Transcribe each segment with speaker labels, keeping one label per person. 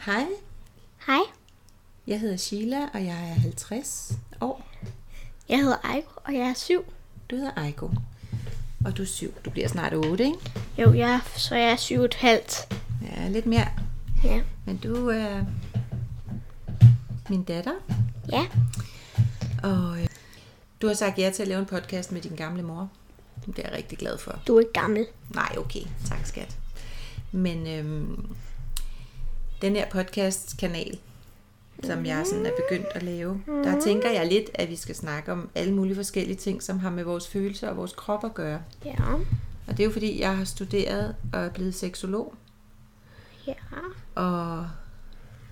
Speaker 1: Hej,
Speaker 2: Hej,
Speaker 1: jeg hedder Sheila, og jeg er 50 år.
Speaker 2: jeg hedder Aiko, og jeg er syv.
Speaker 1: Du hedder Eiko, og du er syv. Du bliver snart 8, ikke?
Speaker 2: Jo, jeg er, så jeg er syv og et halvt.
Speaker 1: Ja, lidt mere.
Speaker 2: Ja.
Speaker 1: Men du er min datter,
Speaker 2: Ja.
Speaker 1: og øh, du har sagt ja til at lave en podcast med din gamle mor. Det er jeg rigtig glad for.
Speaker 2: Du er ikke gammel.
Speaker 1: Nej, okay. Tak, skat. Men øhm, den her podcast-kanal, som jeg sådan er begyndt at lave, der tænker jeg lidt, at vi skal snakke om alle mulige forskellige ting, som har med vores følelser og vores krop at gøre.
Speaker 2: Ja.
Speaker 1: Og det er jo fordi, jeg har studeret og er blevet seksolog,
Speaker 2: Ja.
Speaker 1: og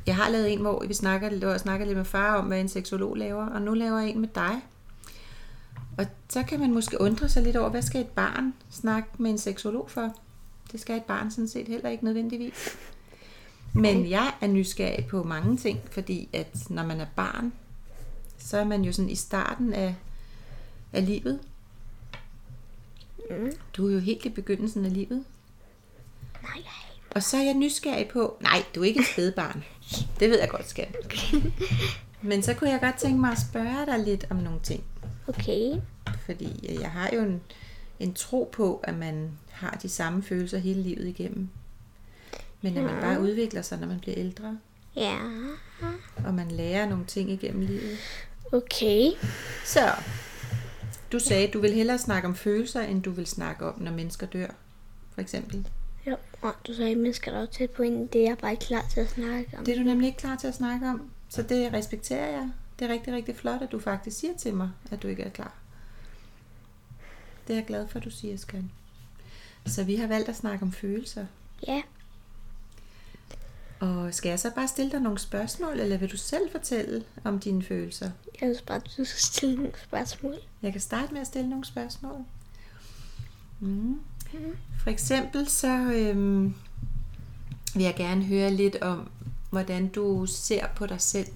Speaker 1: jeg har lavet en, hvor vi snakker, hvor jeg snakker lidt med far om, hvad en seksolog laver, og nu laver jeg en med dig. Og så kan man måske undre sig lidt over, hvad skal et barn snakke med en seksolog for? Det skal et barn sådan set heller ikke nødvendigvis. Men jeg er nysgerrig på mange ting, fordi at når man er barn, så er man jo sådan i starten af, af livet.
Speaker 2: Mm.
Speaker 1: Du er jo helt i begyndelsen af livet.
Speaker 2: Nej, nej.
Speaker 1: Og så er jeg nysgerrig på... Nej, du er ikke et spædbarn. Det ved jeg godt, skat. Men så kunne jeg godt tænke mig at spørge dig lidt om nogle ting.
Speaker 2: Okay.
Speaker 1: Fordi øh, jeg har jo en, en tro på, at man har de samme følelser hele livet igennem. Men at man bare udvikler sig, når man bliver ældre.
Speaker 2: Ja.
Speaker 1: Og man lærer nogle ting igennem livet.
Speaker 2: Okay.
Speaker 1: Så, du sagde, du vil hellere snakke om følelser, end du vil snakke om, når mennesker dør. For eksempel.
Speaker 2: Jo, og du sagde, at mennesker der er tæt på en, det er jeg bare ikke klar til at snakke om.
Speaker 1: Det er du nemlig ikke klar til at snakke om, så det respekterer jeg. Det er rigtig, rigtig flot, at du faktisk siger til mig, at du ikke er klar. Det er jeg glad for, at du siger, Skan. Så vi har valgt at snakke om følelser.
Speaker 2: Ja.
Speaker 1: Og skal jeg så bare stille dig nogle spørgsmål, eller vil du selv fortælle om dine følelser?
Speaker 2: Jeg synes bare, at du skal stille nogle spørgsmål.
Speaker 1: Jeg kan starte med at stille nogle spørgsmål. Mm.
Speaker 2: Mm-hmm.
Speaker 1: For eksempel så øhm, vil jeg gerne høre lidt om, hvordan du ser på dig selv.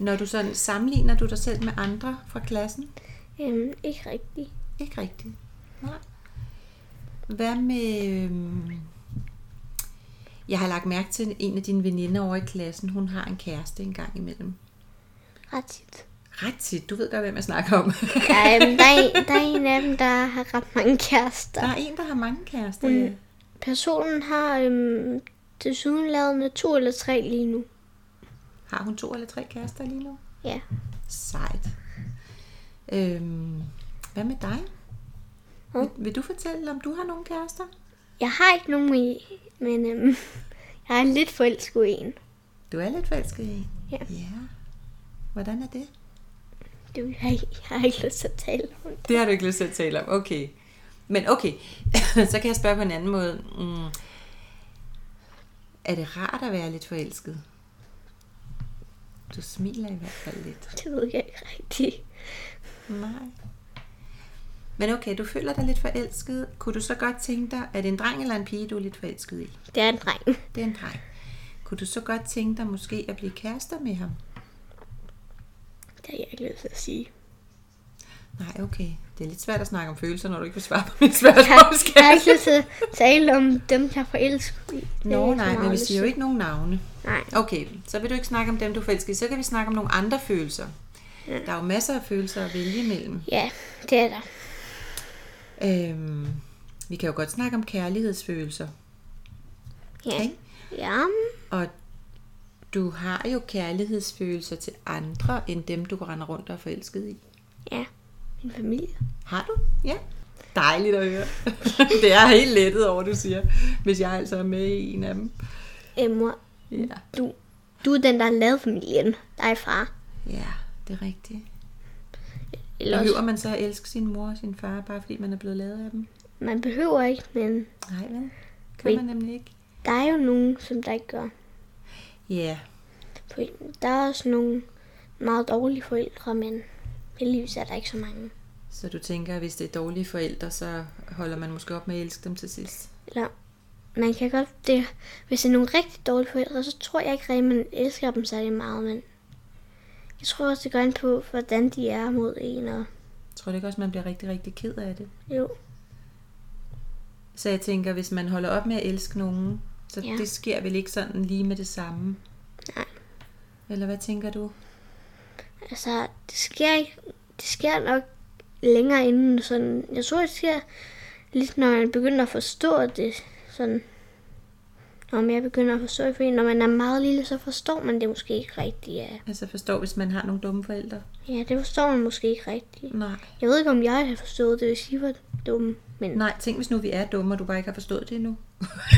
Speaker 1: Når du sådan sammenligner du dig selv med andre fra klassen?
Speaker 2: Øhm, ikke rigtigt.
Speaker 1: Ikke rigtigt. Nej. Hvad med... Øhm, jeg har lagt mærke til en af dine veninder over i klassen. Hun har en kæreste en gang imellem.
Speaker 2: Ret tit.
Speaker 1: Ret tit. Du ved godt, hvem jeg snakker om.
Speaker 2: Ja, øhm, der, er en, der er en af dem, der har ret mange kærester.
Speaker 1: Der er en, der har mange kærester. Mm.
Speaker 2: Personen har øhm, desuden lavet to eller tre lige nu.
Speaker 1: Har hun to eller tre kærester lige nu?
Speaker 2: Ja.
Speaker 1: Sejt. Øhm, hvad med dig?
Speaker 2: Hvad?
Speaker 1: Vil, vil du fortælle, om du har nogle kærester?
Speaker 2: Jeg har ikke nogen i, men øhm, jeg er lidt forelsket i en.
Speaker 1: Du er lidt forelsket i en.
Speaker 2: Ja.
Speaker 1: ja. Hvordan er det?
Speaker 2: Det vil jeg, ikke- jeg har ikke lyst til at tale om.
Speaker 1: Det har du ikke lyst til at tale om. Okay. Men okay, så kan jeg spørge på en anden måde. Mm. Er det rart at være lidt forelsket? Du smiler i hvert fald lidt.
Speaker 2: Det ved jeg ikke rigtigt.
Speaker 1: Nej. Men okay, du føler dig lidt forelsket. Kunne du så godt tænke dig, at det er en dreng eller en pige, du er lidt forelsket i?
Speaker 2: Det er en dreng.
Speaker 1: Det er en dreng. Kunne du så godt tænke dig måske at blive kærester med ham?
Speaker 2: Det har jeg ikke lyst til at sige.
Speaker 1: Nej, okay. Det er lidt svært at snakke om følelser, når du ikke vil svare på mine spørgsmål,
Speaker 2: Jeg har ikke
Speaker 1: skat.
Speaker 2: lyst til at tale om dem, jeg er forelsket i. Det er
Speaker 1: Nå,
Speaker 2: ikke så
Speaker 1: nej, men
Speaker 2: meget
Speaker 1: vi
Speaker 2: lyst
Speaker 1: siger jo
Speaker 2: til.
Speaker 1: ikke nogen navne.
Speaker 2: Nej.
Speaker 1: Okay, så vil du ikke snakke om dem, du er forelsket i. Så kan vi snakke om nogle andre følelser. Der er jo masser af følelser at vælge imellem.
Speaker 2: Ja, det er der.
Speaker 1: Øhm, vi kan jo godt snakke om kærlighedsfølelser.
Speaker 2: Ja.
Speaker 1: Ikke?
Speaker 2: Ja.
Speaker 1: Og du har jo kærlighedsfølelser til andre, end dem, du render rundt og er forelsket i.
Speaker 2: Ja. Min familie.
Speaker 1: Har du? Ja. Dejligt at høre. det er helt lettet over, du siger, hvis jeg altså er med i en af dem.
Speaker 2: Øh, mor,
Speaker 1: Ja.
Speaker 2: du, du er den, der har lavet familien. Dig fra.
Speaker 1: Ja, det er rigtigt.
Speaker 2: Eller
Speaker 1: Behøver
Speaker 2: også,
Speaker 1: man så at elske sin mor og sin far, bare fordi man er blevet lavet af dem?
Speaker 2: man behøver ikke, men
Speaker 1: Nej, vel? Kan
Speaker 2: Men-
Speaker 1: man nemlig ikke.
Speaker 2: der er jo nogen, som der ikke gør.
Speaker 1: Ja,
Speaker 2: på en. Der er også nogle meget dårlige forældre, men heldigvis er der ikke så mange.
Speaker 1: så du tænker, at hvis det er dårlige forældre, så holder man måske op med at elske dem til sidst.
Speaker 2: Eller man kan godt, det, hvis det er nogle rigtig dårlige forældre, så tror jeg ikke rigtig, man elsker dem særlig meget, men jeg tror også, det går ind på, hvordan de er mod en, og
Speaker 1: Tror du ikke også, man bliver rigtig, rigtig ked af det?
Speaker 2: jo,
Speaker 1: Så jeg tænker, hvis man holder op med at elske nogen, Så
Speaker 2: Ja.
Speaker 1: ja. det sker vel ikke sådan lige med det samme?
Speaker 2: Nej.
Speaker 1: Eller hvad tænker du?
Speaker 2: Altså, det sker, ikke- det sker nok længere inden sådan... Jeg tror, det sker lidt, når man begynder at forstå det. Sådan, når jeg begynder at forstå det, fordi når man er meget lille, så forstår man det måske ikke rigtigt. Ja,
Speaker 1: Altså forstår, hvis man har nogle dumme forældre?
Speaker 2: ja det forstår man måske ikke rigtigt.
Speaker 1: Nej.
Speaker 2: Jeg ved ikke, om jeg har forstået det, hvis I var dumme. Men
Speaker 1: Nej, tænk hvis nu vi er dumme, og du bare ikke har forstået det endnu.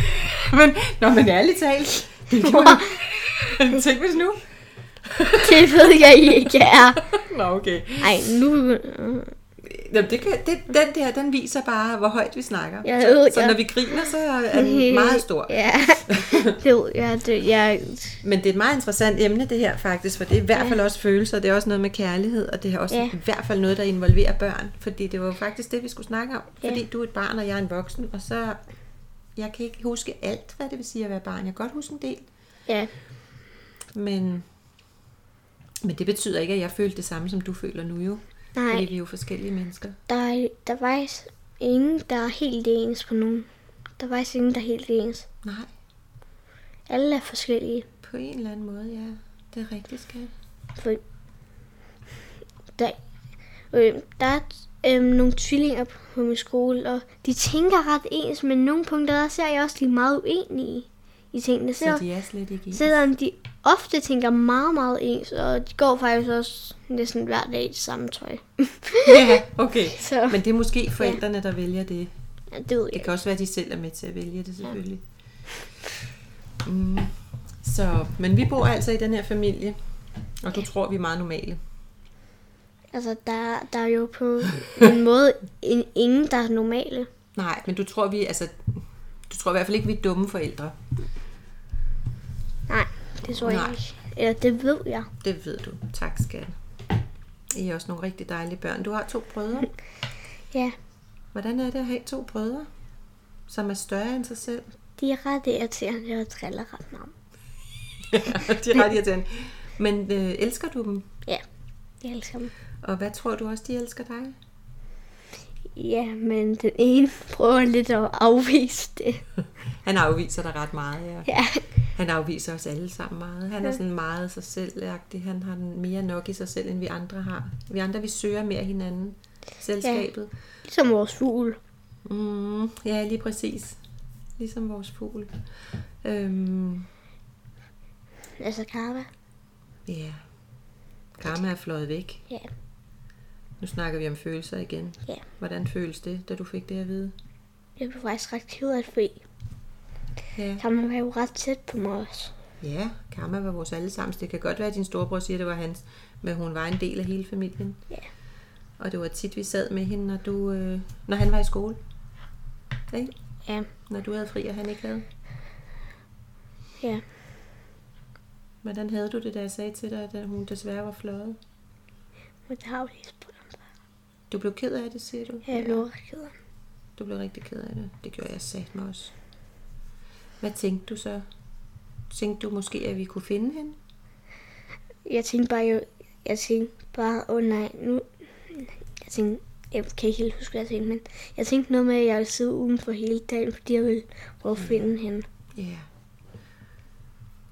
Speaker 1: men, nå, men ærligt talt. Det kan man... tænk hvis nu.
Speaker 2: det ved jeg ikke, jeg er.
Speaker 1: Nå, okay.
Speaker 2: Ej, nu... øh,
Speaker 1: Jamen, det kan, det, den der, den viser bare, hvor højt vi snakker.
Speaker 2: Jeg ved,
Speaker 1: Så
Speaker 2: jeg...
Speaker 1: når vi griner, så er den meget stor.
Speaker 2: Øh, Ja, det ved jeg. Det, jeg
Speaker 1: Men det er et meget interessant emne, det her faktisk, for det er i hvert fald også følelser, det er også noget med kærlighed, og det er også
Speaker 2: Ja.
Speaker 1: ja. i hvert fald noget, der involverer børn. Fordi det var jo faktisk det, vi skulle snakke om.
Speaker 2: Ja.
Speaker 1: Fordi du er et barn, og jeg er en voksen, og så... Jeg kan ikke huske alt, hvad det vil sige at være barn. Jeg kan godt huske en del,
Speaker 2: ja,
Speaker 1: men... Men det betyder ikke, at jeg følte det samme, som du føler nu jo.
Speaker 2: nej.
Speaker 1: Fordi vi er jo forskellige mennesker.
Speaker 2: Der er, der er faktisk ingen, der er helt ens på nogen. Der er faktisk ingen, der er helt ens.
Speaker 1: Nej,
Speaker 2: Alle er forskellige.
Speaker 1: på en eller anden måde, ja. Det er rigtigt, skat.
Speaker 2: For der, øh, der er øh, nogle tvillinger på min skole, og de tænker ret ens, men nogle punkter der ser jeg også, de er meget uenige i tingene.
Speaker 1: Så
Speaker 2: Selvom,
Speaker 1: de er slet ikke ens.
Speaker 2: selvom de ofte tænker meget, meget ens, og de går faktisk også næsten hver dag i det samme tøj.
Speaker 1: Ja, okay.
Speaker 2: Så
Speaker 1: Men det er måske forældrene, der vælger det.
Speaker 2: ja, det ved jeg
Speaker 1: Det
Speaker 2: ikke.
Speaker 1: kan også være, at de selv er med til at vælge det, selvfølgelig. Mm. Så, men vi bor altså i den her familie, og du tror, vi er meget normale.
Speaker 2: Altså, der, der er jo på en måde en, ingen, der er normale.
Speaker 1: Nej, men du tror, vi, altså, du tror i hvert fald ikke, vi er dumme forældre.
Speaker 2: Nej, det tror jeg
Speaker 1: Nej.
Speaker 2: ikke. Eller det ved jeg.
Speaker 1: Det ved du. Tak, skat. I er også nogle rigtig dejlige børn. Du har to brødre.
Speaker 2: Ja,
Speaker 1: Hvordan er det at have to brødre, som er større end sig selv?
Speaker 2: de er ret irriterende og driller ret meget.
Speaker 1: de er ret irriterende. Men øh, elsker du dem?
Speaker 2: Ja, jeg elsker dem.
Speaker 1: Og hvad tror du også, de elsker dig?
Speaker 2: Ja, men den ene prøver lidt at afvise det.
Speaker 1: Han afviser dig ret meget, ja.
Speaker 2: Ja,
Speaker 1: Han afviser os alle sammen meget. Han er sådan meget sig selv Han har mere nok i sig selv, end vi andre har. Vi andre, vi søger mere hinanden. Selskabet.
Speaker 2: ligesom vores fugl.
Speaker 1: Ja, mm, ja lige præcis. Ligesom vores fugl. Øhm,
Speaker 2: Altså karma.
Speaker 1: ja. Karma er fløjet væk.
Speaker 2: Ja.
Speaker 1: Nu snakker vi om følelser igen.
Speaker 2: Ja.
Speaker 1: Hvordan føles det, da du fik det at vide?
Speaker 2: Jeg blev faktisk ret ked af det, fordi
Speaker 1: Ja.
Speaker 2: karma var jo ret tæt på mig også.
Speaker 1: ja, karma var vores allesammens. Det kan godt være, at din storebror siger, at det var hans, men hun var en del af hele familien.
Speaker 2: Ja.
Speaker 1: Og det var tit, vi sad med hende, når, du, øh, når han var i skole. Ikke?
Speaker 2: Ja,
Speaker 1: Når du havde fri, og han ikke havde.
Speaker 2: ja.
Speaker 1: Hvordan havde du det, da jeg sagde til dig, at hun desværre var fløjet?
Speaker 2: Men det har jo lige på dem.
Speaker 1: Du blev ked af det, siger du?
Speaker 2: Ja, jeg blev ret ked af det.
Speaker 1: Du blev rigtig ked af det. Det gjorde jeg sat mig også. Hvad tænkte du så? Tænkte du måske, at vi kunne finde hende?
Speaker 2: Jeg tænkte bare, jeg, jeg tænkte bare, åh oh, nej, nu... Jeg tænkte, jeg kan ikke helt huske, hvad jeg tænkte, men jeg tænkte noget med, at jeg ville sidde udenfor hele dagen, fordi jeg ville prøve at finde hende.
Speaker 1: Ja. Yeah.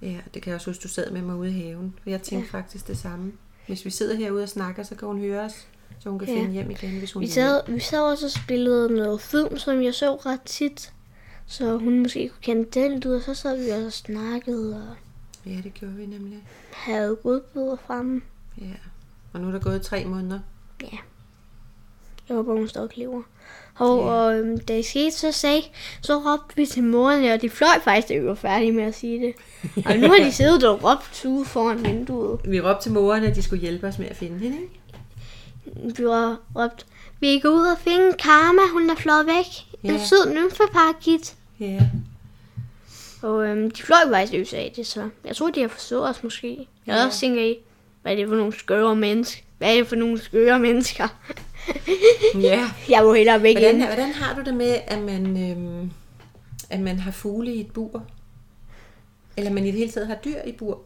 Speaker 1: Ja, det kan jeg også huske, du sad med mig ude i haven. For jeg tænkte ja. faktisk det samme. Hvis vi sidder herude og snakker, så kan hun høre os, så hun kan
Speaker 2: Ja.
Speaker 1: ja. finde hjem igen, hvis hun
Speaker 2: Vi
Speaker 1: vil.
Speaker 2: sad, vi sad også og spillede noget film, som jeg så ret tit, så hun måske kunne kende den ud, og så sad vi også og snakkede og
Speaker 1: Ja, det gjorde vi nemlig.
Speaker 2: havde godbidder fremme.
Speaker 1: Ja. Og nu er der gået tre måneder.
Speaker 2: Ja. Jeg håber, hun stadig lever. Og,
Speaker 1: Ja.
Speaker 2: og øhm, da det skete, så, sagde, så råbte vi til morerne, og de fløj faktisk, da vi var færdige med at sige det. Og nu har de siddet og råbt ude foran vinduet.
Speaker 1: Vi råbte til moren, at de skulle hjælpe os med at finde hende, ikke?
Speaker 2: Vi har råbt, vi går ud og finde Karma, hun er flået væk. En
Speaker 1: Ja.
Speaker 2: sød nymfeparakit.
Speaker 1: Ja.
Speaker 2: Og øhm, de fløj faktisk løs af det, så jeg tror, de har forstået os måske. Jeg ja.
Speaker 1: Ja.
Speaker 2: også tænker i, hvad er det for nogle skøre mennesker? Hvad er det for nogle skøre mennesker?
Speaker 1: Ja.
Speaker 2: Jeg må hellere væk
Speaker 1: Hvordan,
Speaker 2: igen.
Speaker 1: hvordan har du det med, at man, øhm, at man har fugle i et bur? Eller man i det hele taget har dyr i bur?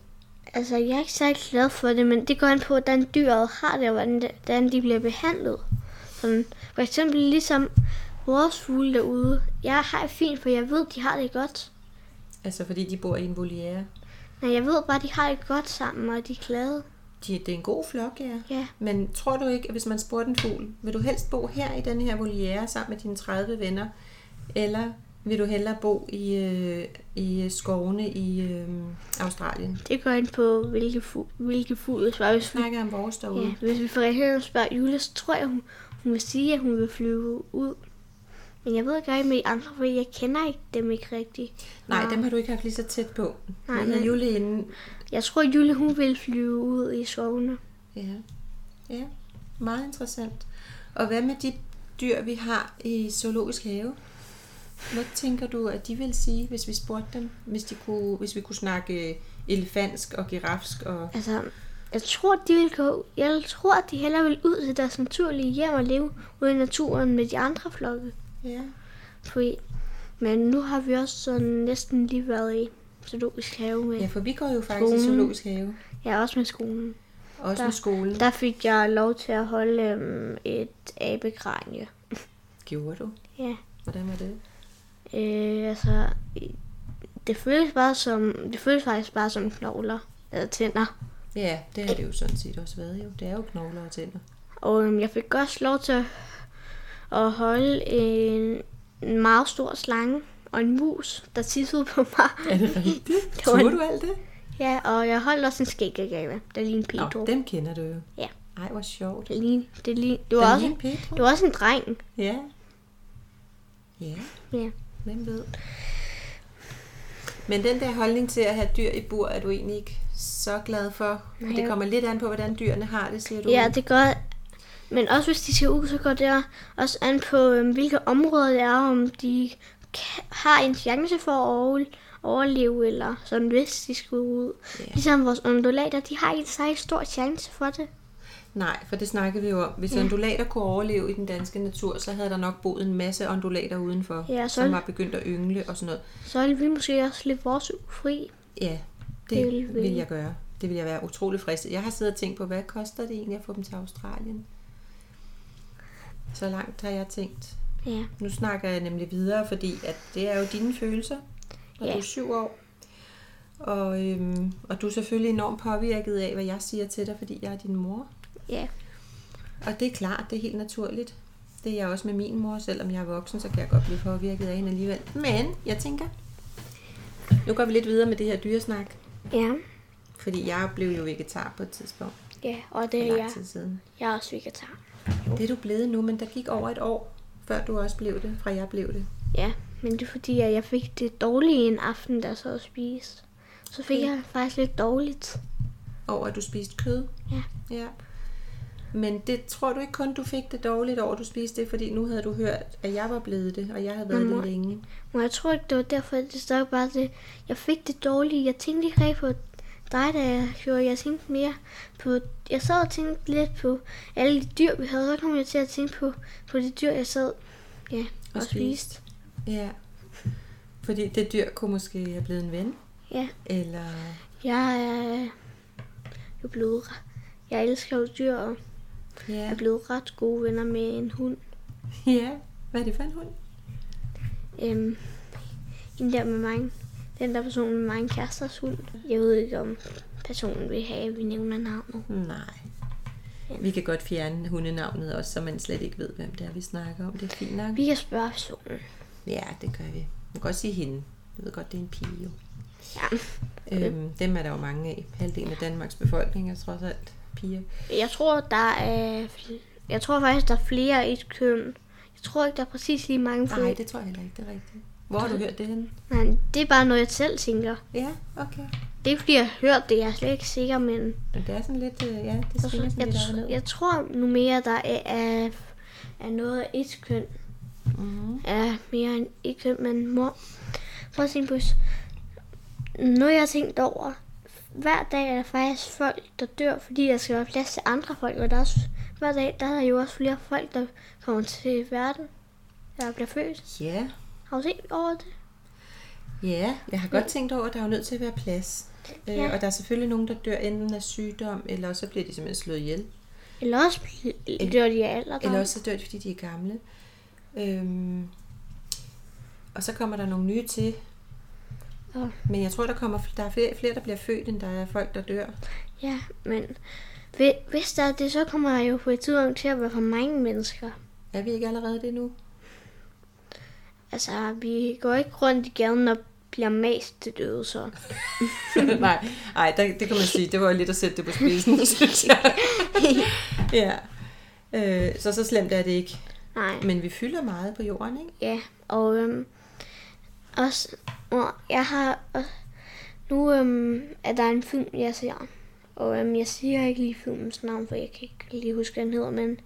Speaker 2: Altså, jeg er ikke særlig glad for det, men det går an på, hvordan dyret har det, og hvordan de, hvordan de bliver behandlet. Sådan, for eksempel ligesom vores fugle derude. Jeg har det fint, for jeg ved, de har det godt.
Speaker 1: Altså fordi de bor i en voliere.
Speaker 2: Nej, jeg ved bare, at de har det godt sammen, og de er glade.
Speaker 1: De, det er en god flok, ja.
Speaker 2: Ja,
Speaker 1: Men tror du ikke, at hvis man spurgte en fugl, vil du helst bo her i den her voliere sammen med dine 30 venner, eller vil du hellere bo i, øh, i skovene i øh, Australien?
Speaker 2: det går ind på, hvilke, fu- hvilke fugle svarer. Hvis vi,
Speaker 1: Snakker om vores derude.
Speaker 2: ja, hvis vi får hende og spørger Julie, så tror jeg, hun, hun vil sige, at hun vil flyve ud. Men jeg ved ikke rigtig med de andre, fordi jeg kender ikke dem ikke rigtigt.
Speaker 1: Nej, dem har du ikke haft lige så tæt på.
Speaker 2: Nej,
Speaker 1: Nej, men
Speaker 2: men-
Speaker 1: Julie inden.
Speaker 2: Jeg tror, Julie hun vil flyve ud i skovene.
Speaker 1: Ja. ja, meget interessant. Og hvad med de dyr, vi har i zoologisk have? Hvad tænker du, at de vil sige, hvis vi spurgte dem? Hvis, de kunne, hvis vi kunne snakke elefantsk og girafsk og...
Speaker 2: Altså, jeg tror, de vil gå, jeg tror, de hellere vil ud til deres naturlige hjem og leve ude i naturen med de andre flokke.
Speaker 1: Ja.
Speaker 2: Fordi, men nu har vi også sådan næsten lige været i zoologisk have med.
Speaker 1: ja,
Speaker 2: Ja.
Speaker 1: for vi går jo faktisk i
Speaker 2: Skolen.
Speaker 1: zoologisk have.
Speaker 2: ja, også med skolen.
Speaker 1: Også
Speaker 2: Der-
Speaker 1: med skolen.
Speaker 2: Der fik jeg lov til at holde øhm, et abekranje.
Speaker 1: Gjorde du?
Speaker 2: Ja.
Speaker 1: Hvordan var det?
Speaker 2: Øh, altså, i- det føles, bare som, det føles faktisk bare som knogler eller tænder.
Speaker 1: Ja, det har det jo sådan set også været jo. Det er jo knogler og tænder.
Speaker 2: Og øhm, jeg fik også lov til at, at holde en, en meget stor slange og en mus, der tissede på mig.
Speaker 1: Er det rigtigt?
Speaker 2: var en-
Speaker 1: Tror du alt det?
Speaker 2: Ja, og jeg holdt også en skæggegave, der lignede Pedro.
Speaker 1: Nå, dem kender du jo.
Speaker 2: Ja.
Speaker 1: Ej, hvor sjovt.
Speaker 2: Det, lign, det, lign, det,
Speaker 1: Den
Speaker 2: var også,
Speaker 1: ene Pedro?
Speaker 2: det var også en dreng.
Speaker 1: Ja. Ja,
Speaker 2: Ja.
Speaker 1: hvem ved. Men den der holdning til at have dyr i bur, er du egentlig ikke så glad for. Nej,
Speaker 2: Nej.
Speaker 1: det kommer lidt an på, hvordan dyrene har det, siger du.
Speaker 2: ja, det gør... Men også hvis de ser ud, så går det også an på, øhm, hvilke områder det er, om de kan, har en chance for at overle- overleve, eller sådan, hvis de skulle ud.
Speaker 1: Ja.
Speaker 2: Ligesom vores undulater, de har ikke særlig stor chance for det.
Speaker 1: Nej, for det snakkede vi jo om. Hvis undulater kunne overleve i den danske natur, så havde der nok boet en masse undulater udenfor,
Speaker 2: Ja, så-
Speaker 1: som var begyndt at yngle og sådan noget.
Speaker 2: Så ville vi måske også lidt vores fri.
Speaker 1: Ja,
Speaker 2: Det
Speaker 1: det,
Speaker 2: ville
Speaker 1: det
Speaker 2: vi.
Speaker 1: vil jeg gøre. Det vil jeg være utrolig fristet. Jeg har siddet og tænkt på, hvad koster det egentlig at få dem til Australien? Så langt har jeg tænkt.
Speaker 2: Ja.
Speaker 1: Nu snakker jeg nemlig videre, fordi at det er jo dine følelser, når ja.
Speaker 2: Ja.
Speaker 1: du er syv år. Og, øhm, og du er selvfølgelig enormt påvirket af, hvad jeg siger til dig, fordi jeg er din mor.
Speaker 2: Ja.
Speaker 1: Og det er klart, det er helt naturligt. Det er jeg også med min mor, selvom jeg er voksen, så kan jeg godt blive påvirket af hende alligevel. Men jeg tænker, nu går vi lidt videre med det her dyresnak,
Speaker 2: Ja.
Speaker 1: fordi jeg blev jo vegetar på et tidspunkt,
Speaker 2: Ja, og det
Speaker 1: for
Speaker 2: er jeg.
Speaker 1: lang tid siden.
Speaker 2: Jeg er også vegetar.
Speaker 1: Det er du blevet nu, men der gik over et år, før du også blev det, fra jeg blev det.
Speaker 2: Ja, men det er fordi, at jeg fik det dårlige en aften, der så at spise. Så fik jeg faktisk lidt dårligt.
Speaker 1: Over at du spiste kød.
Speaker 2: Ja.
Speaker 1: Ja. Men det tror du ikke kun, du fik det dårligt over, at du spiste det, fordi nu havde du hørt, at jeg var blevet det, og jeg havde været
Speaker 2: Men mor-
Speaker 1: det længe.
Speaker 2: Men jeg tror ikke, det var derfor, at det stod bare det. Jeg fik det dårlige. Jeg tænkte ikke rigtig på dig, da jeg gjorde. Jeg tænkte mere på... Jeg sad og tænkte lidt på alle de dyr, vi havde. Så kom jeg til at tænke på, på de dyr, jeg sad ja, og, og spiste.
Speaker 1: Ja. Fordi det dyr kunne måske have blevet en ven.
Speaker 2: Ja,
Speaker 1: Eller...
Speaker 2: jeg er jo blevet... re- Jeg elsker jo dyr og er
Speaker 1: Ja.
Speaker 2: blevet ret gode venner med en hund.
Speaker 1: ja. Hvad er det for en hund?
Speaker 2: Øhm, den der med mange, den der person med mange kæresters hund. Jeg ved ikke, om personen vil have, at vi nævner navnet.
Speaker 1: Nej. Vi kan godt fjerne hundenavnet også, så man slet ikke ved, hvem det er, vi snakker om. Det er fint nok.
Speaker 2: Vi kan spørge personen.
Speaker 1: Ja, det gør vi. Man kan godt sige hende. Jeg ved godt, det er en pige jo.
Speaker 2: Ja.
Speaker 1: Øhm, dem er der jo mange af. Halvdelen af Danmarks befolkning er trods alt piger.
Speaker 2: Jeg tror, der er... fl- Jeg tror faktisk, der er flere i et køn. Jeg tror ikke, der er præcis lige mange
Speaker 1: Nej,
Speaker 2: flere.
Speaker 1: det tror jeg heller ikke, det er rigtigt. Hvor har du hørt det henne?
Speaker 2: Nej, det er bare noget, jeg selv tænker.
Speaker 1: Ja, okay.
Speaker 2: Det er ikke, fordi jeg har hørt det. Jeg er slet ikke sikker, men...
Speaker 1: Men det er sådan lidt, øh, ja, det
Speaker 2: Jeg,
Speaker 1: svinger sådan lidt op og
Speaker 2: jeg,
Speaker 1: ned.
Speaker 2: jeg tror nu mere, der er, er, er noget af et køn.
Speaker 1: Mhm.
Speaker 2: er mere end ikke, men mor. Prøv at tænke på, s- noget jeg har tænkt over. Hver dag er der faktisk folk, der dør, fordi der skal være plads til andre folk. Og der er, også- hver dag der er der jo også flere folk, der kommer til verden, der bliver født.
Speaker 1: Ja,
Speaker 2: Har du tænkt over det?
Speaker 1: ja, jeg har godt tænkt over, at der er jo nødt til at være plads. Øh,
Speaker 2: Ja.
Speaker 1: og der er selvfølgelig nogen, der dør enten af sygdom, eller så bliver de simpelthen slået ihjel.
Speaker 2: Eller også bl- dør de af alderdom.
Speaker 1: Eller også så dør de, fordi de er gamle. Øhm, og så kommer der nogle nye til.
Speaker 2: Og,
Speaker 1: Men jeg tror, der, kommer, der er flere, flere, der bliver født, end der er folk, der dør.
Speaker 2: ja, men hvi- hvis der er det, så kommer der jo på et tidspunkt til at være for mange mennesker.
Speaker 1: Er vi ikke allerede det nu?
Speaker 2: Altså, vi går ikke rundt i gaden og bliver mest til døde, så.
Speaker 1: Nej, ej, der, det kan man sige, det var jo lidt at sætte det på spidsen, synes jeg. ja. Øh, så så slemt er det ikke.
Speaker 2: Nej.
Speaker 1: Men vi fylder meget på jorden, ikke?
Speaker 2: Ja, og øhm, også, og jeg har, og nu øhm, er der en film, jeg ser, og øhm, jeg siger ikke lige filmens navn, for jeg kan ikke lige huske, hvad den hedder, men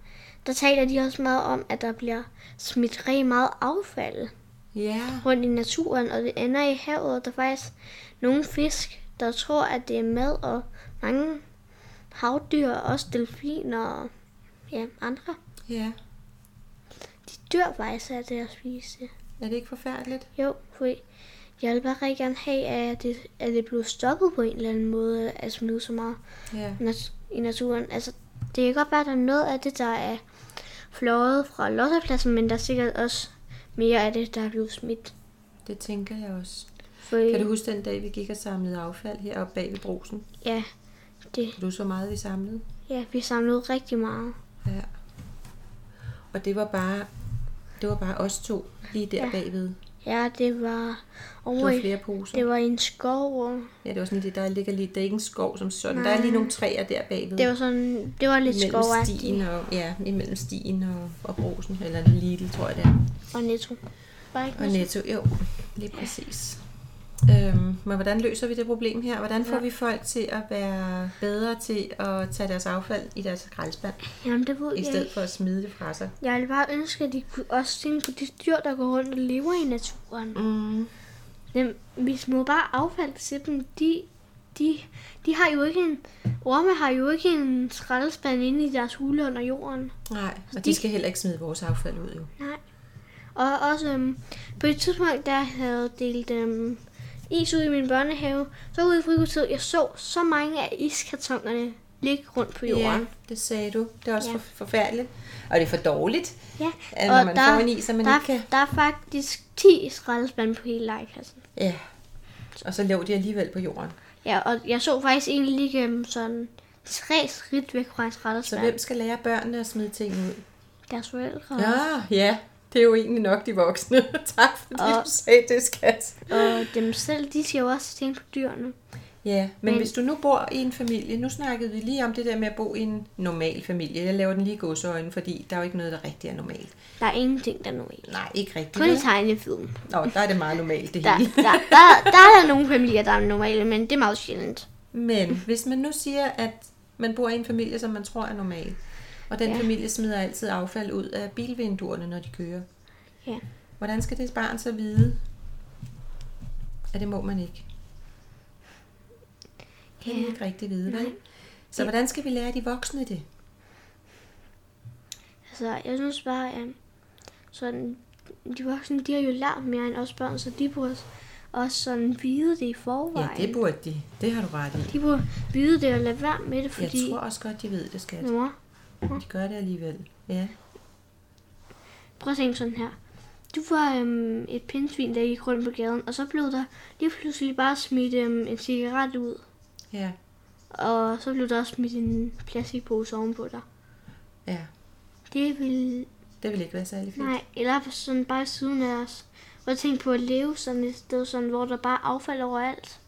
Speaker 2: der taler de også meget om, at der bliver smidt rigtig meget affald
Speaker 1: Ja.
Speaker 2: rundt i naturen, og det ender i havet, og der er faktisk nogle fisk, der tror, at det er mad, og mange havdyr, også delfiner og ja, andre,
Speaker 1: Ja.
Speaker 2: de dør faktisk af det at spise det.
Speaker 1: Er det ikke forfærdeligt?
Speaker 2: Jo, for jeg vil bare rigtig gerne have, at det, at det blev stoppet på en eller anden måde at smide så meget
Speaker 1: Ja.
Speaker 2: nat- i naturen. Altså, det kan godt være, at der er noget af det, der er fløjet fra lossepladsen, men der er sikkert også mere af det, der er blevet smidt.
Speaker 1: Det tænker jeg også.
Speaker 2: For,
Speaker 1: Kan du huske den dag, vi gik og samlede affald heroppe bag ved brosen?
Speaker 2: Ja, det,
Speaker 1: Kan du så meget, vi samlede?
Speaker 2: ja, vi samlede rigtig meget.
Speaker 1: Ja. Og det var bare, det var bare os to lige der ja.
Speaker 2: Ja.
Speaker 1: bagved.
Speaker 2: Ja, det var
Speaker 1: Der
Speaker 2: over
Speaker 1: var
Speaker 2: i,
Speaker 1: flere poser.
Speaker 2: det var i en skov, og
Speaker 1: Ja, det var sådan lidt, der ligger lige, det er ikke en skov som sådan. Nej.
Speaker 2: Nej.
Speaker 1: Der er lige nogle træer der bagved.
Speaker 2: det var sådan, det var lidt
Speaker 1: mellem
Speaker 2: skovagtigt
Speaker 1: stien og, ja, imellem stien og, og brosen, eller Lidl, tror jeg det er.
Speaker 2: og netto. Bare ikke
Speaker 1: Og
Speaker 2: noget-
Speaker 1: Netto, jo, lige præcis. Øhm, men hvordan løser vi det problem her? Hvordan får ja. vi folk til at være bedre til at tage deres affald i deres skraldespand,
Speaker 2: Jamen, det ved
Speaker 1: i
Speaker 2: jeg ikke.
Speaker 1: stedet for at smide det fra sig?
Speaker 2: Jeg ville bare ønske, at de kunne også tænke på de dyr, der går rundt og lever i naturen.
Speaker 1: Mm.
Speaker 2: Dem, vi smider bare affald til dem. De, de, de har jo ikke en... Orme har jo ikke en skraldespand inde i deres hule under jorden.
Speaker 1: Nej, og de
Speaker 2: de-
Speaker 1: skal heller ikke smide vores affald ud, jo.
Speaker 2: Nej. Og også øhm, på et tidspunkt, der havde delt øhm, is ud i min børnehave, så ude i frikvarteret, jeg så så mange af iskartonerne ligge rundt på jorden.
Speaker 1: Ja, det sagde du. Det er også ja.
Speaker 2: Ja.
Speaker 1: forfærdeligt. Og det er for dårligt,
Speaker 2: Ja,
Speaker 1: at når man får en is, så man
Speaker 2: der,
Speaker 1: ikke kan...
Speaker 2: der er faktisk 10 skraldespande på hele legepladsen.
Speaker 1: Ja, og så lå de alligevel på jorden.
Speaker 2: Ja, og jeg så faktisk egentlig lige gennem sådan tre skridt væk fra hans
Speaker 1: Så
Speaker 2: rettespand.
Speaker 1: hvem skal lære børnene at smide ting ud?
Speaker 2: Deres forældre.
Speaker 1: Ja, ja. Det er jo egentlig nok de voksne. tak fordi
Speaker 2: Og-
Speaker 1: du sagde det, skat.
Speaker 2: Og dem selv, de skal jo også tænke på dyrene.
Speaker 1: Ja, men, men
Speaker 2: Men-
Speaker 1: hvis du nu bor i en familie, nu snakkede vi lige om det der med at bo i en normal familie. Jeg laver den lige godsøjne, fordi der er jo ikke noget, der rigtig er normalt.
Speaker 2: Der er ingenting, der er normalt.
Speaker 1: Nej, ikke rigtigt.
Speaker 2: Kun i
Speaker 1: vel?
Speaker 2: tegnefilm.
Speaker 1: Nå, der er det meget normalt det
Speaker 2: Der,
Speaker 1: hele.
Speaker 2: der, der, der er der nogle familier, der er normale, men det er meget sjældent.
Speaker 1: Men hvis man nu siger, at man bor i en familie, som man tror er normal, og den ja.
Speaker 2: Ja.
Speaker 1: familie smider altid affald ud af bilvinduerne, når de kører.
Speaker 2: Ja.
Speaker 1: Hvordan skal det barn så vide, at det må man ikke? Kan ja.
Speaker 2: Ja.
Speaker 1: ikke rigtig vide, vel?
Speaker 2: Nej.
Speaker 1: Så hvordan skal vi lære de voksne det?
Speaker 2: Altså, jeg synes bare, at sådan, de voksne, de har jo lært mere end os børn, så de burde også sådan vide det i forvejen.
Speaker 1: Ja, det burde de. Det har du ret i.
Speaker 2: De burde vide det og lade være med det,
Speaker 1: Jeg
Speaker 2: fordi... Mhm.
Speaker 1: tror også godt, de ved det, skat.
Speaker 2: Mor,
Speaker 1: De gør det alligevel. Ja.
Speaker 2: Prøv at tænke sådan her. Du var øhm, et pindsvin, der gik rundt på gaden, og så blev der lige pludselig bare smidt øhm, en cigaret ud.
Speaker 1: Ja.
Speaker 2: Og så blev der også smidt en plastikpose ovenpå dig.
Speaker 1: Ja.
Speaker 2: Det ville...
Speaker 1: Det vil ikke være særlig fint.
Speaker 2: Nej, eller sådan bare i siden af os. Og tænk på at leve sådan et sted, sådan, hvor der bare er affald overalt.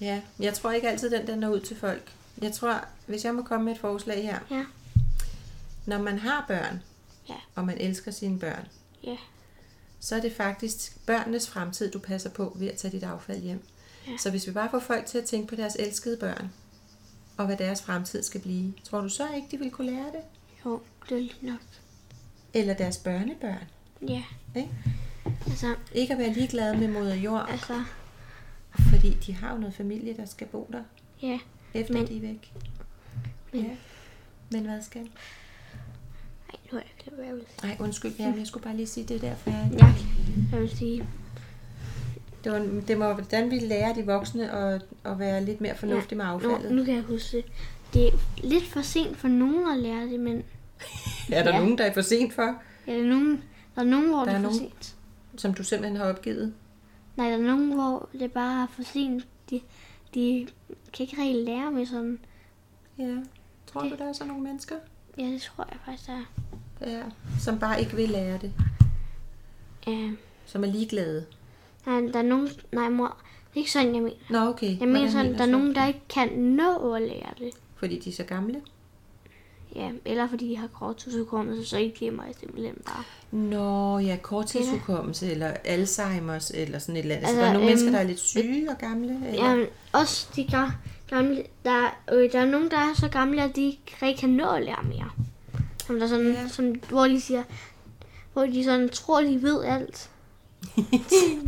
Speaker 1: Ja. Jeg tror ikke altid, den der når ud til folk. Jeg tror, hvis jeg må komme med et forslag her.
Speaker 2: Ja.
Speaker 1: Når man har børn,
Speaker 2: Ja.
Speaker 1: og man elsker sine børn,
Speaker 2: Ja.
Speaker 1: så er det faktisk børnenes fremtid, du passer på ved at tage dit affald hjem. Ja.
Speaker 2: Ja.
Speaker 1: Så hvis vi bare får folk til at tænke på deres elskede børn, og hvad deres fremtid skal blive, tror du så ikke, de vil kunne lære det?
Speaker 2: Jo, det er lige nok.
Speaker 1: Eller deres børnebørn?
Speaker 2: Ja.
Speaker 1: Ikke?
Speaker 2: Altså,
Speaker 1: Ikke at være ligeglade med moder jord,
Speaker 2: altså,
Speaker 1: fordi de har jo noget familie, der skal bo der,
Speaker 2: ja.
Speaker 1: efter men,
Speaker 2: Men-
Speaker 1: de er væk.
Speaker 2: Men-
Speaker 1: ja. men hvad skal
Speaker 2: Ej, nu er jeg glemt, hvad jeg vil sige.
Speaker 1: Nej, undskyld, ja, men jeg skulle bare lige sige det der, for jeg...
Speaker 2: Ja, jeg vil sige.
Speaker 1: Det, var, det var, hvordan vi lærer de voksne at, at være lidt mere fornuftige med affaldet.
Speaker 2: Nå, nu kan jeg huske det. Det er lidt for sent for nogen at lære det, men
Speaker 1: Er der ja.
Speaker 2: Ja.
Speaker 1: nogen, der er for sent for,
Speaker 2: er der nogen, der er nogen, hvor
Speaker 1: Der
Speaker 2: der det
Speaker 1: er
Speaker 2: er for
Speaker 1: nogen.
Speaker 2: sent.
Speaker 1: som du simpelthen har opgivet?
Speaker 2: Nej, der er nogen, hvor det bare er for sent. De, de kan ikke rigtig lære med sådan.
Speaker 1: Ja. Tror
Speaker 2: Det-
Speaker 1: du, der er sådan nogle mennesker,
Speaker 2: Ja, det tror jeg faktisk, der er.
Speaker 1: ja. som bare ikke vil lære det?
Speaker 2: Ja.
Speaker 1: Som er ligeglade?
Speaker 2: Nej, der er nogen... Nej, mor. Det er ikke sådan, jeg mener.
Speaker 1: Nå, okay.
Speaker 2: Jeg
Speaker 1: Hvordan
Speaker 2: mener sådan,
Speaker 1: mener
Speaker 2: der er
Speaker 1: du så?
Speaker 2: nogen, der ikke kan nå at lære det.
Speaker 1: Fordi de er så gamle?
Speaker 2: Ja, eller fordi de har korttidsudkommelse, så ikke glemmer jeg simpelthen bare.
Speaker 1: Nå, ja, korttidshukommelse, ja. eller Alzheimer's, eller sådan et eller andet. Altså,
Speaker 2: Altså,
Speaker 1: der er nogle
Speaker 2: øhm,
Speaker 1: mennesker, der er lidt syge og gamle? Eller?
Speaker 2: Ja, men også de ga- gamle, der, øh, der er nogen, der er så gamle, at de ikke rigtig kan nå at lære mere. Som der sådan,
Speaker 1: Ja.
Speaker 2: ja. som, hvor de siger, hvor de sådan tror, de ved alt.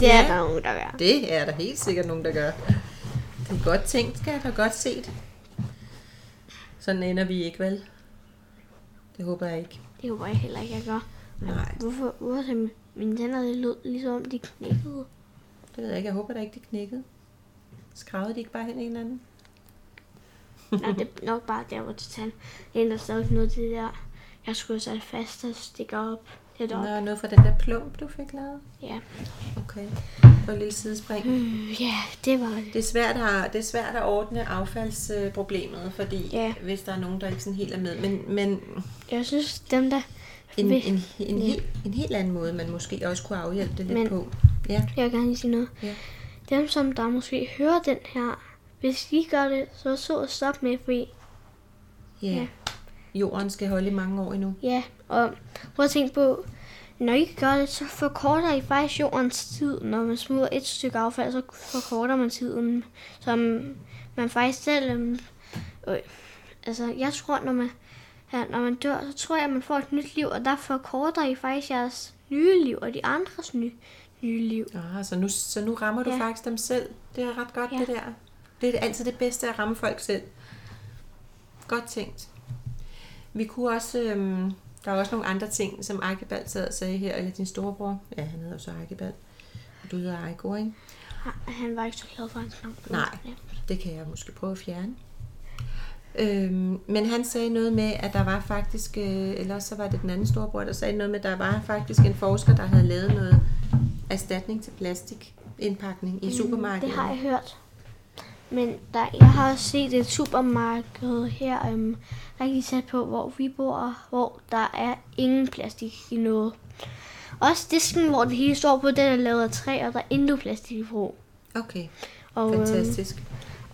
Speaker 2: det er
Speaker 1: Ja.
Speaker 2: der nogen, der gør.
Speaker 1: Det er der helt sikkert nogen, der gør. Det er godt tænkt, skat, og godt set. Sådan ender vi ikke, vel? Det håber jeg ikke.
Speaker 2: Det håber jeg heller ikke, jeg gør.
Speaker 1: Nej,
Speaker 2: Hvorfor, hvorfor ser min- mine tænder det lød, ligesom om de knækkede?
Speaker 1: det ved jeg ikke. Jeg håber da ikke, det knækkede. Skravede de ikke bare hen i hinanden?
Speaker 2: Nej, det er nok bare der, hvor det tand. Det er der stadig noget til det der. Jeg skulle have sat fast og stikker op. Det er
Speaker 1: Nå, noget fra den der plump, du fik lavet?
Speaker 2: Ja. Mm,
Speaker 1: Okay. Det var et lille sidespring.
Speaker 2: ja, det var det.
Speaker 1: Det er svært at, det er svært at ordne affaldsproblemet, fordi
Speaker 2: Ja.
Speaker 1: hvis der er nogen, der ikke sådan helt er med. Men, men
Speaker 2: Jeg synes, dem der...
Speaker 1: en,
Speaker 2: Hvis-
Speaker 1: en, en,
Speaker 2: Ja.
Speaker 1: helt, en helt anden måde, man måske også kunne afhjælpe det lidt
Speaker 2: Men-
Speaker 1: på. Ja.
Speaker 2: Jeg vil gerne lige sige noget.
Speaker 1: Ja.
Speaker 2: Dem, som der måske hører den her, hvis de gør det, så så og stop med, fordi
Speaker 1: Ja.
Speaker 2: Ja.
Speaker 1: Jorden skal holde i mange år endnu.
Speaker 2: ja, og prøv at tænke på, når I gør det, så forkorter I faktisk jordens tid. Når man smider et stykke affald, så forkorter man tiden, som man faktisk selv... øhm, Øh, altså, jeg tror, når man, ja, når man dør, så tror jeg, at man får et nyt liv, og der forkorter I faktisk jeres nye liv og de andres nye, nye liv.
Speaker 1: Ah, så, nu, så nu rammer du ja.
Speaker 2: Ja.
Speaker 1: faktisk dem selv. Det er ret godt, ja.
Speaker 2: Ja.
Speaker 1: det der. Det er altid det bedste at ramme folk selv. Godt tænkt. Vi kunne også... Øhm, der er også nogle andre ting, som Arkebald sad og sagde her, eller din storebror. Ja, han hedder jo så Arkebald. Og du hedder Eiko, ikke?
Speaker 2: Han- Han var ikke så glad for hans navn.
Speaker 1: Nej.
Speaker 2: Ja.
Speaker 1: Det kan jeg måske prøve at fjerne. Øhm, men han sagde noget med, at der var faktisk, øh, eller også så var det den anden storebror, der sagde noget med, at der var faktisk en forsker, der havde lavet noget erstatning til plastikindpakning i mm, supermarkedet.
Speaker 2: Det har jeg hørt. Men der, jeg har også set et supermarked her, øhm, rigtig tæt på, hvor vi bor, hvor der er ingen plastik i noget. Også disken, hvor det hele står på, den er lavet af træ, og der er intet plastik i brug.
Speaker 1: Okay,
Speaker 2: Og, Øhm,
Speaker 1: fantastisk.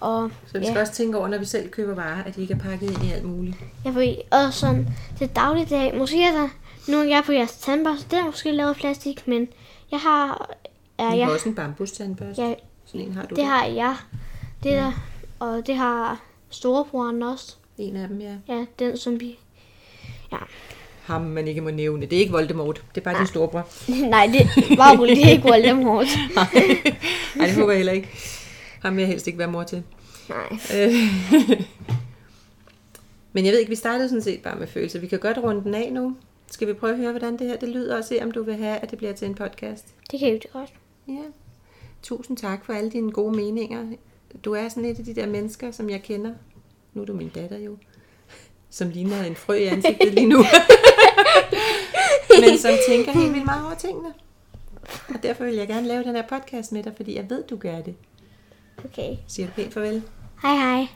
Speaker 2: og
Speaker 1: Så vi skal
Speaker 2: ja.
Speaker 1: også tænke over, når vi selv køber varer, at de ikke er pakket ind i alt muligt.
Speaker 2: Jeg ved, og sådan til dagligdag, måske er der nu er jeg på jeres tandbørste, den er måske lavet af plastik, men jeg har... Er,
Speaker 1: Vi har
Speaker 2: jeg,
Speaker 1: også en bambustandbørste.
Speaker 2: jeg,
Speaker 1: Sådan en har du. Mm.
Speaker 2: det
Speaker 1: da.
Speaker 2: har jeg. Det der, og det har storebroren også.
Speaker 1: En af dem, ja.
Speaker 2: Ja, den som vi... Ja.
Speaker 1: Ham, man ikke må nævne. Det er ikke Voldemort. Det er bare din storebror.
Speaker 2: Nej, det var jo det er ikke Voldemort.
Speaker 1: Nej, det håber jeg heller ikke. Ham vil jeg helst ikke være mor til.
Speaker 2: Nej.
Speaker 1: Øh. Men jeg ved ikke, vi startede sådan set bare med følelser. Vi kan godt runde den af nu. Skal vi prøve at høre, hvordan det her det lyder, og se, om du vil have, at det bliver til en podcast?
Speaker 2: Det kan jo det godt.
Speaker 1: Ja. Tusind tak for alle dine gode meninger. Du er sådan et af de der mennesker, som jeg kender. Nu er du min datter jo. Som ligner en frø i ansigtet lige nu. Men som tænker helt vildt meget over tingene. Og derfor vil jeg gerne lave den her podcast med dig, fordi jeg ved, du gør det.
Speaker 2: Okay.
Speaker 1: Siger du pænt farvel?
Speaker 2: Hej hej.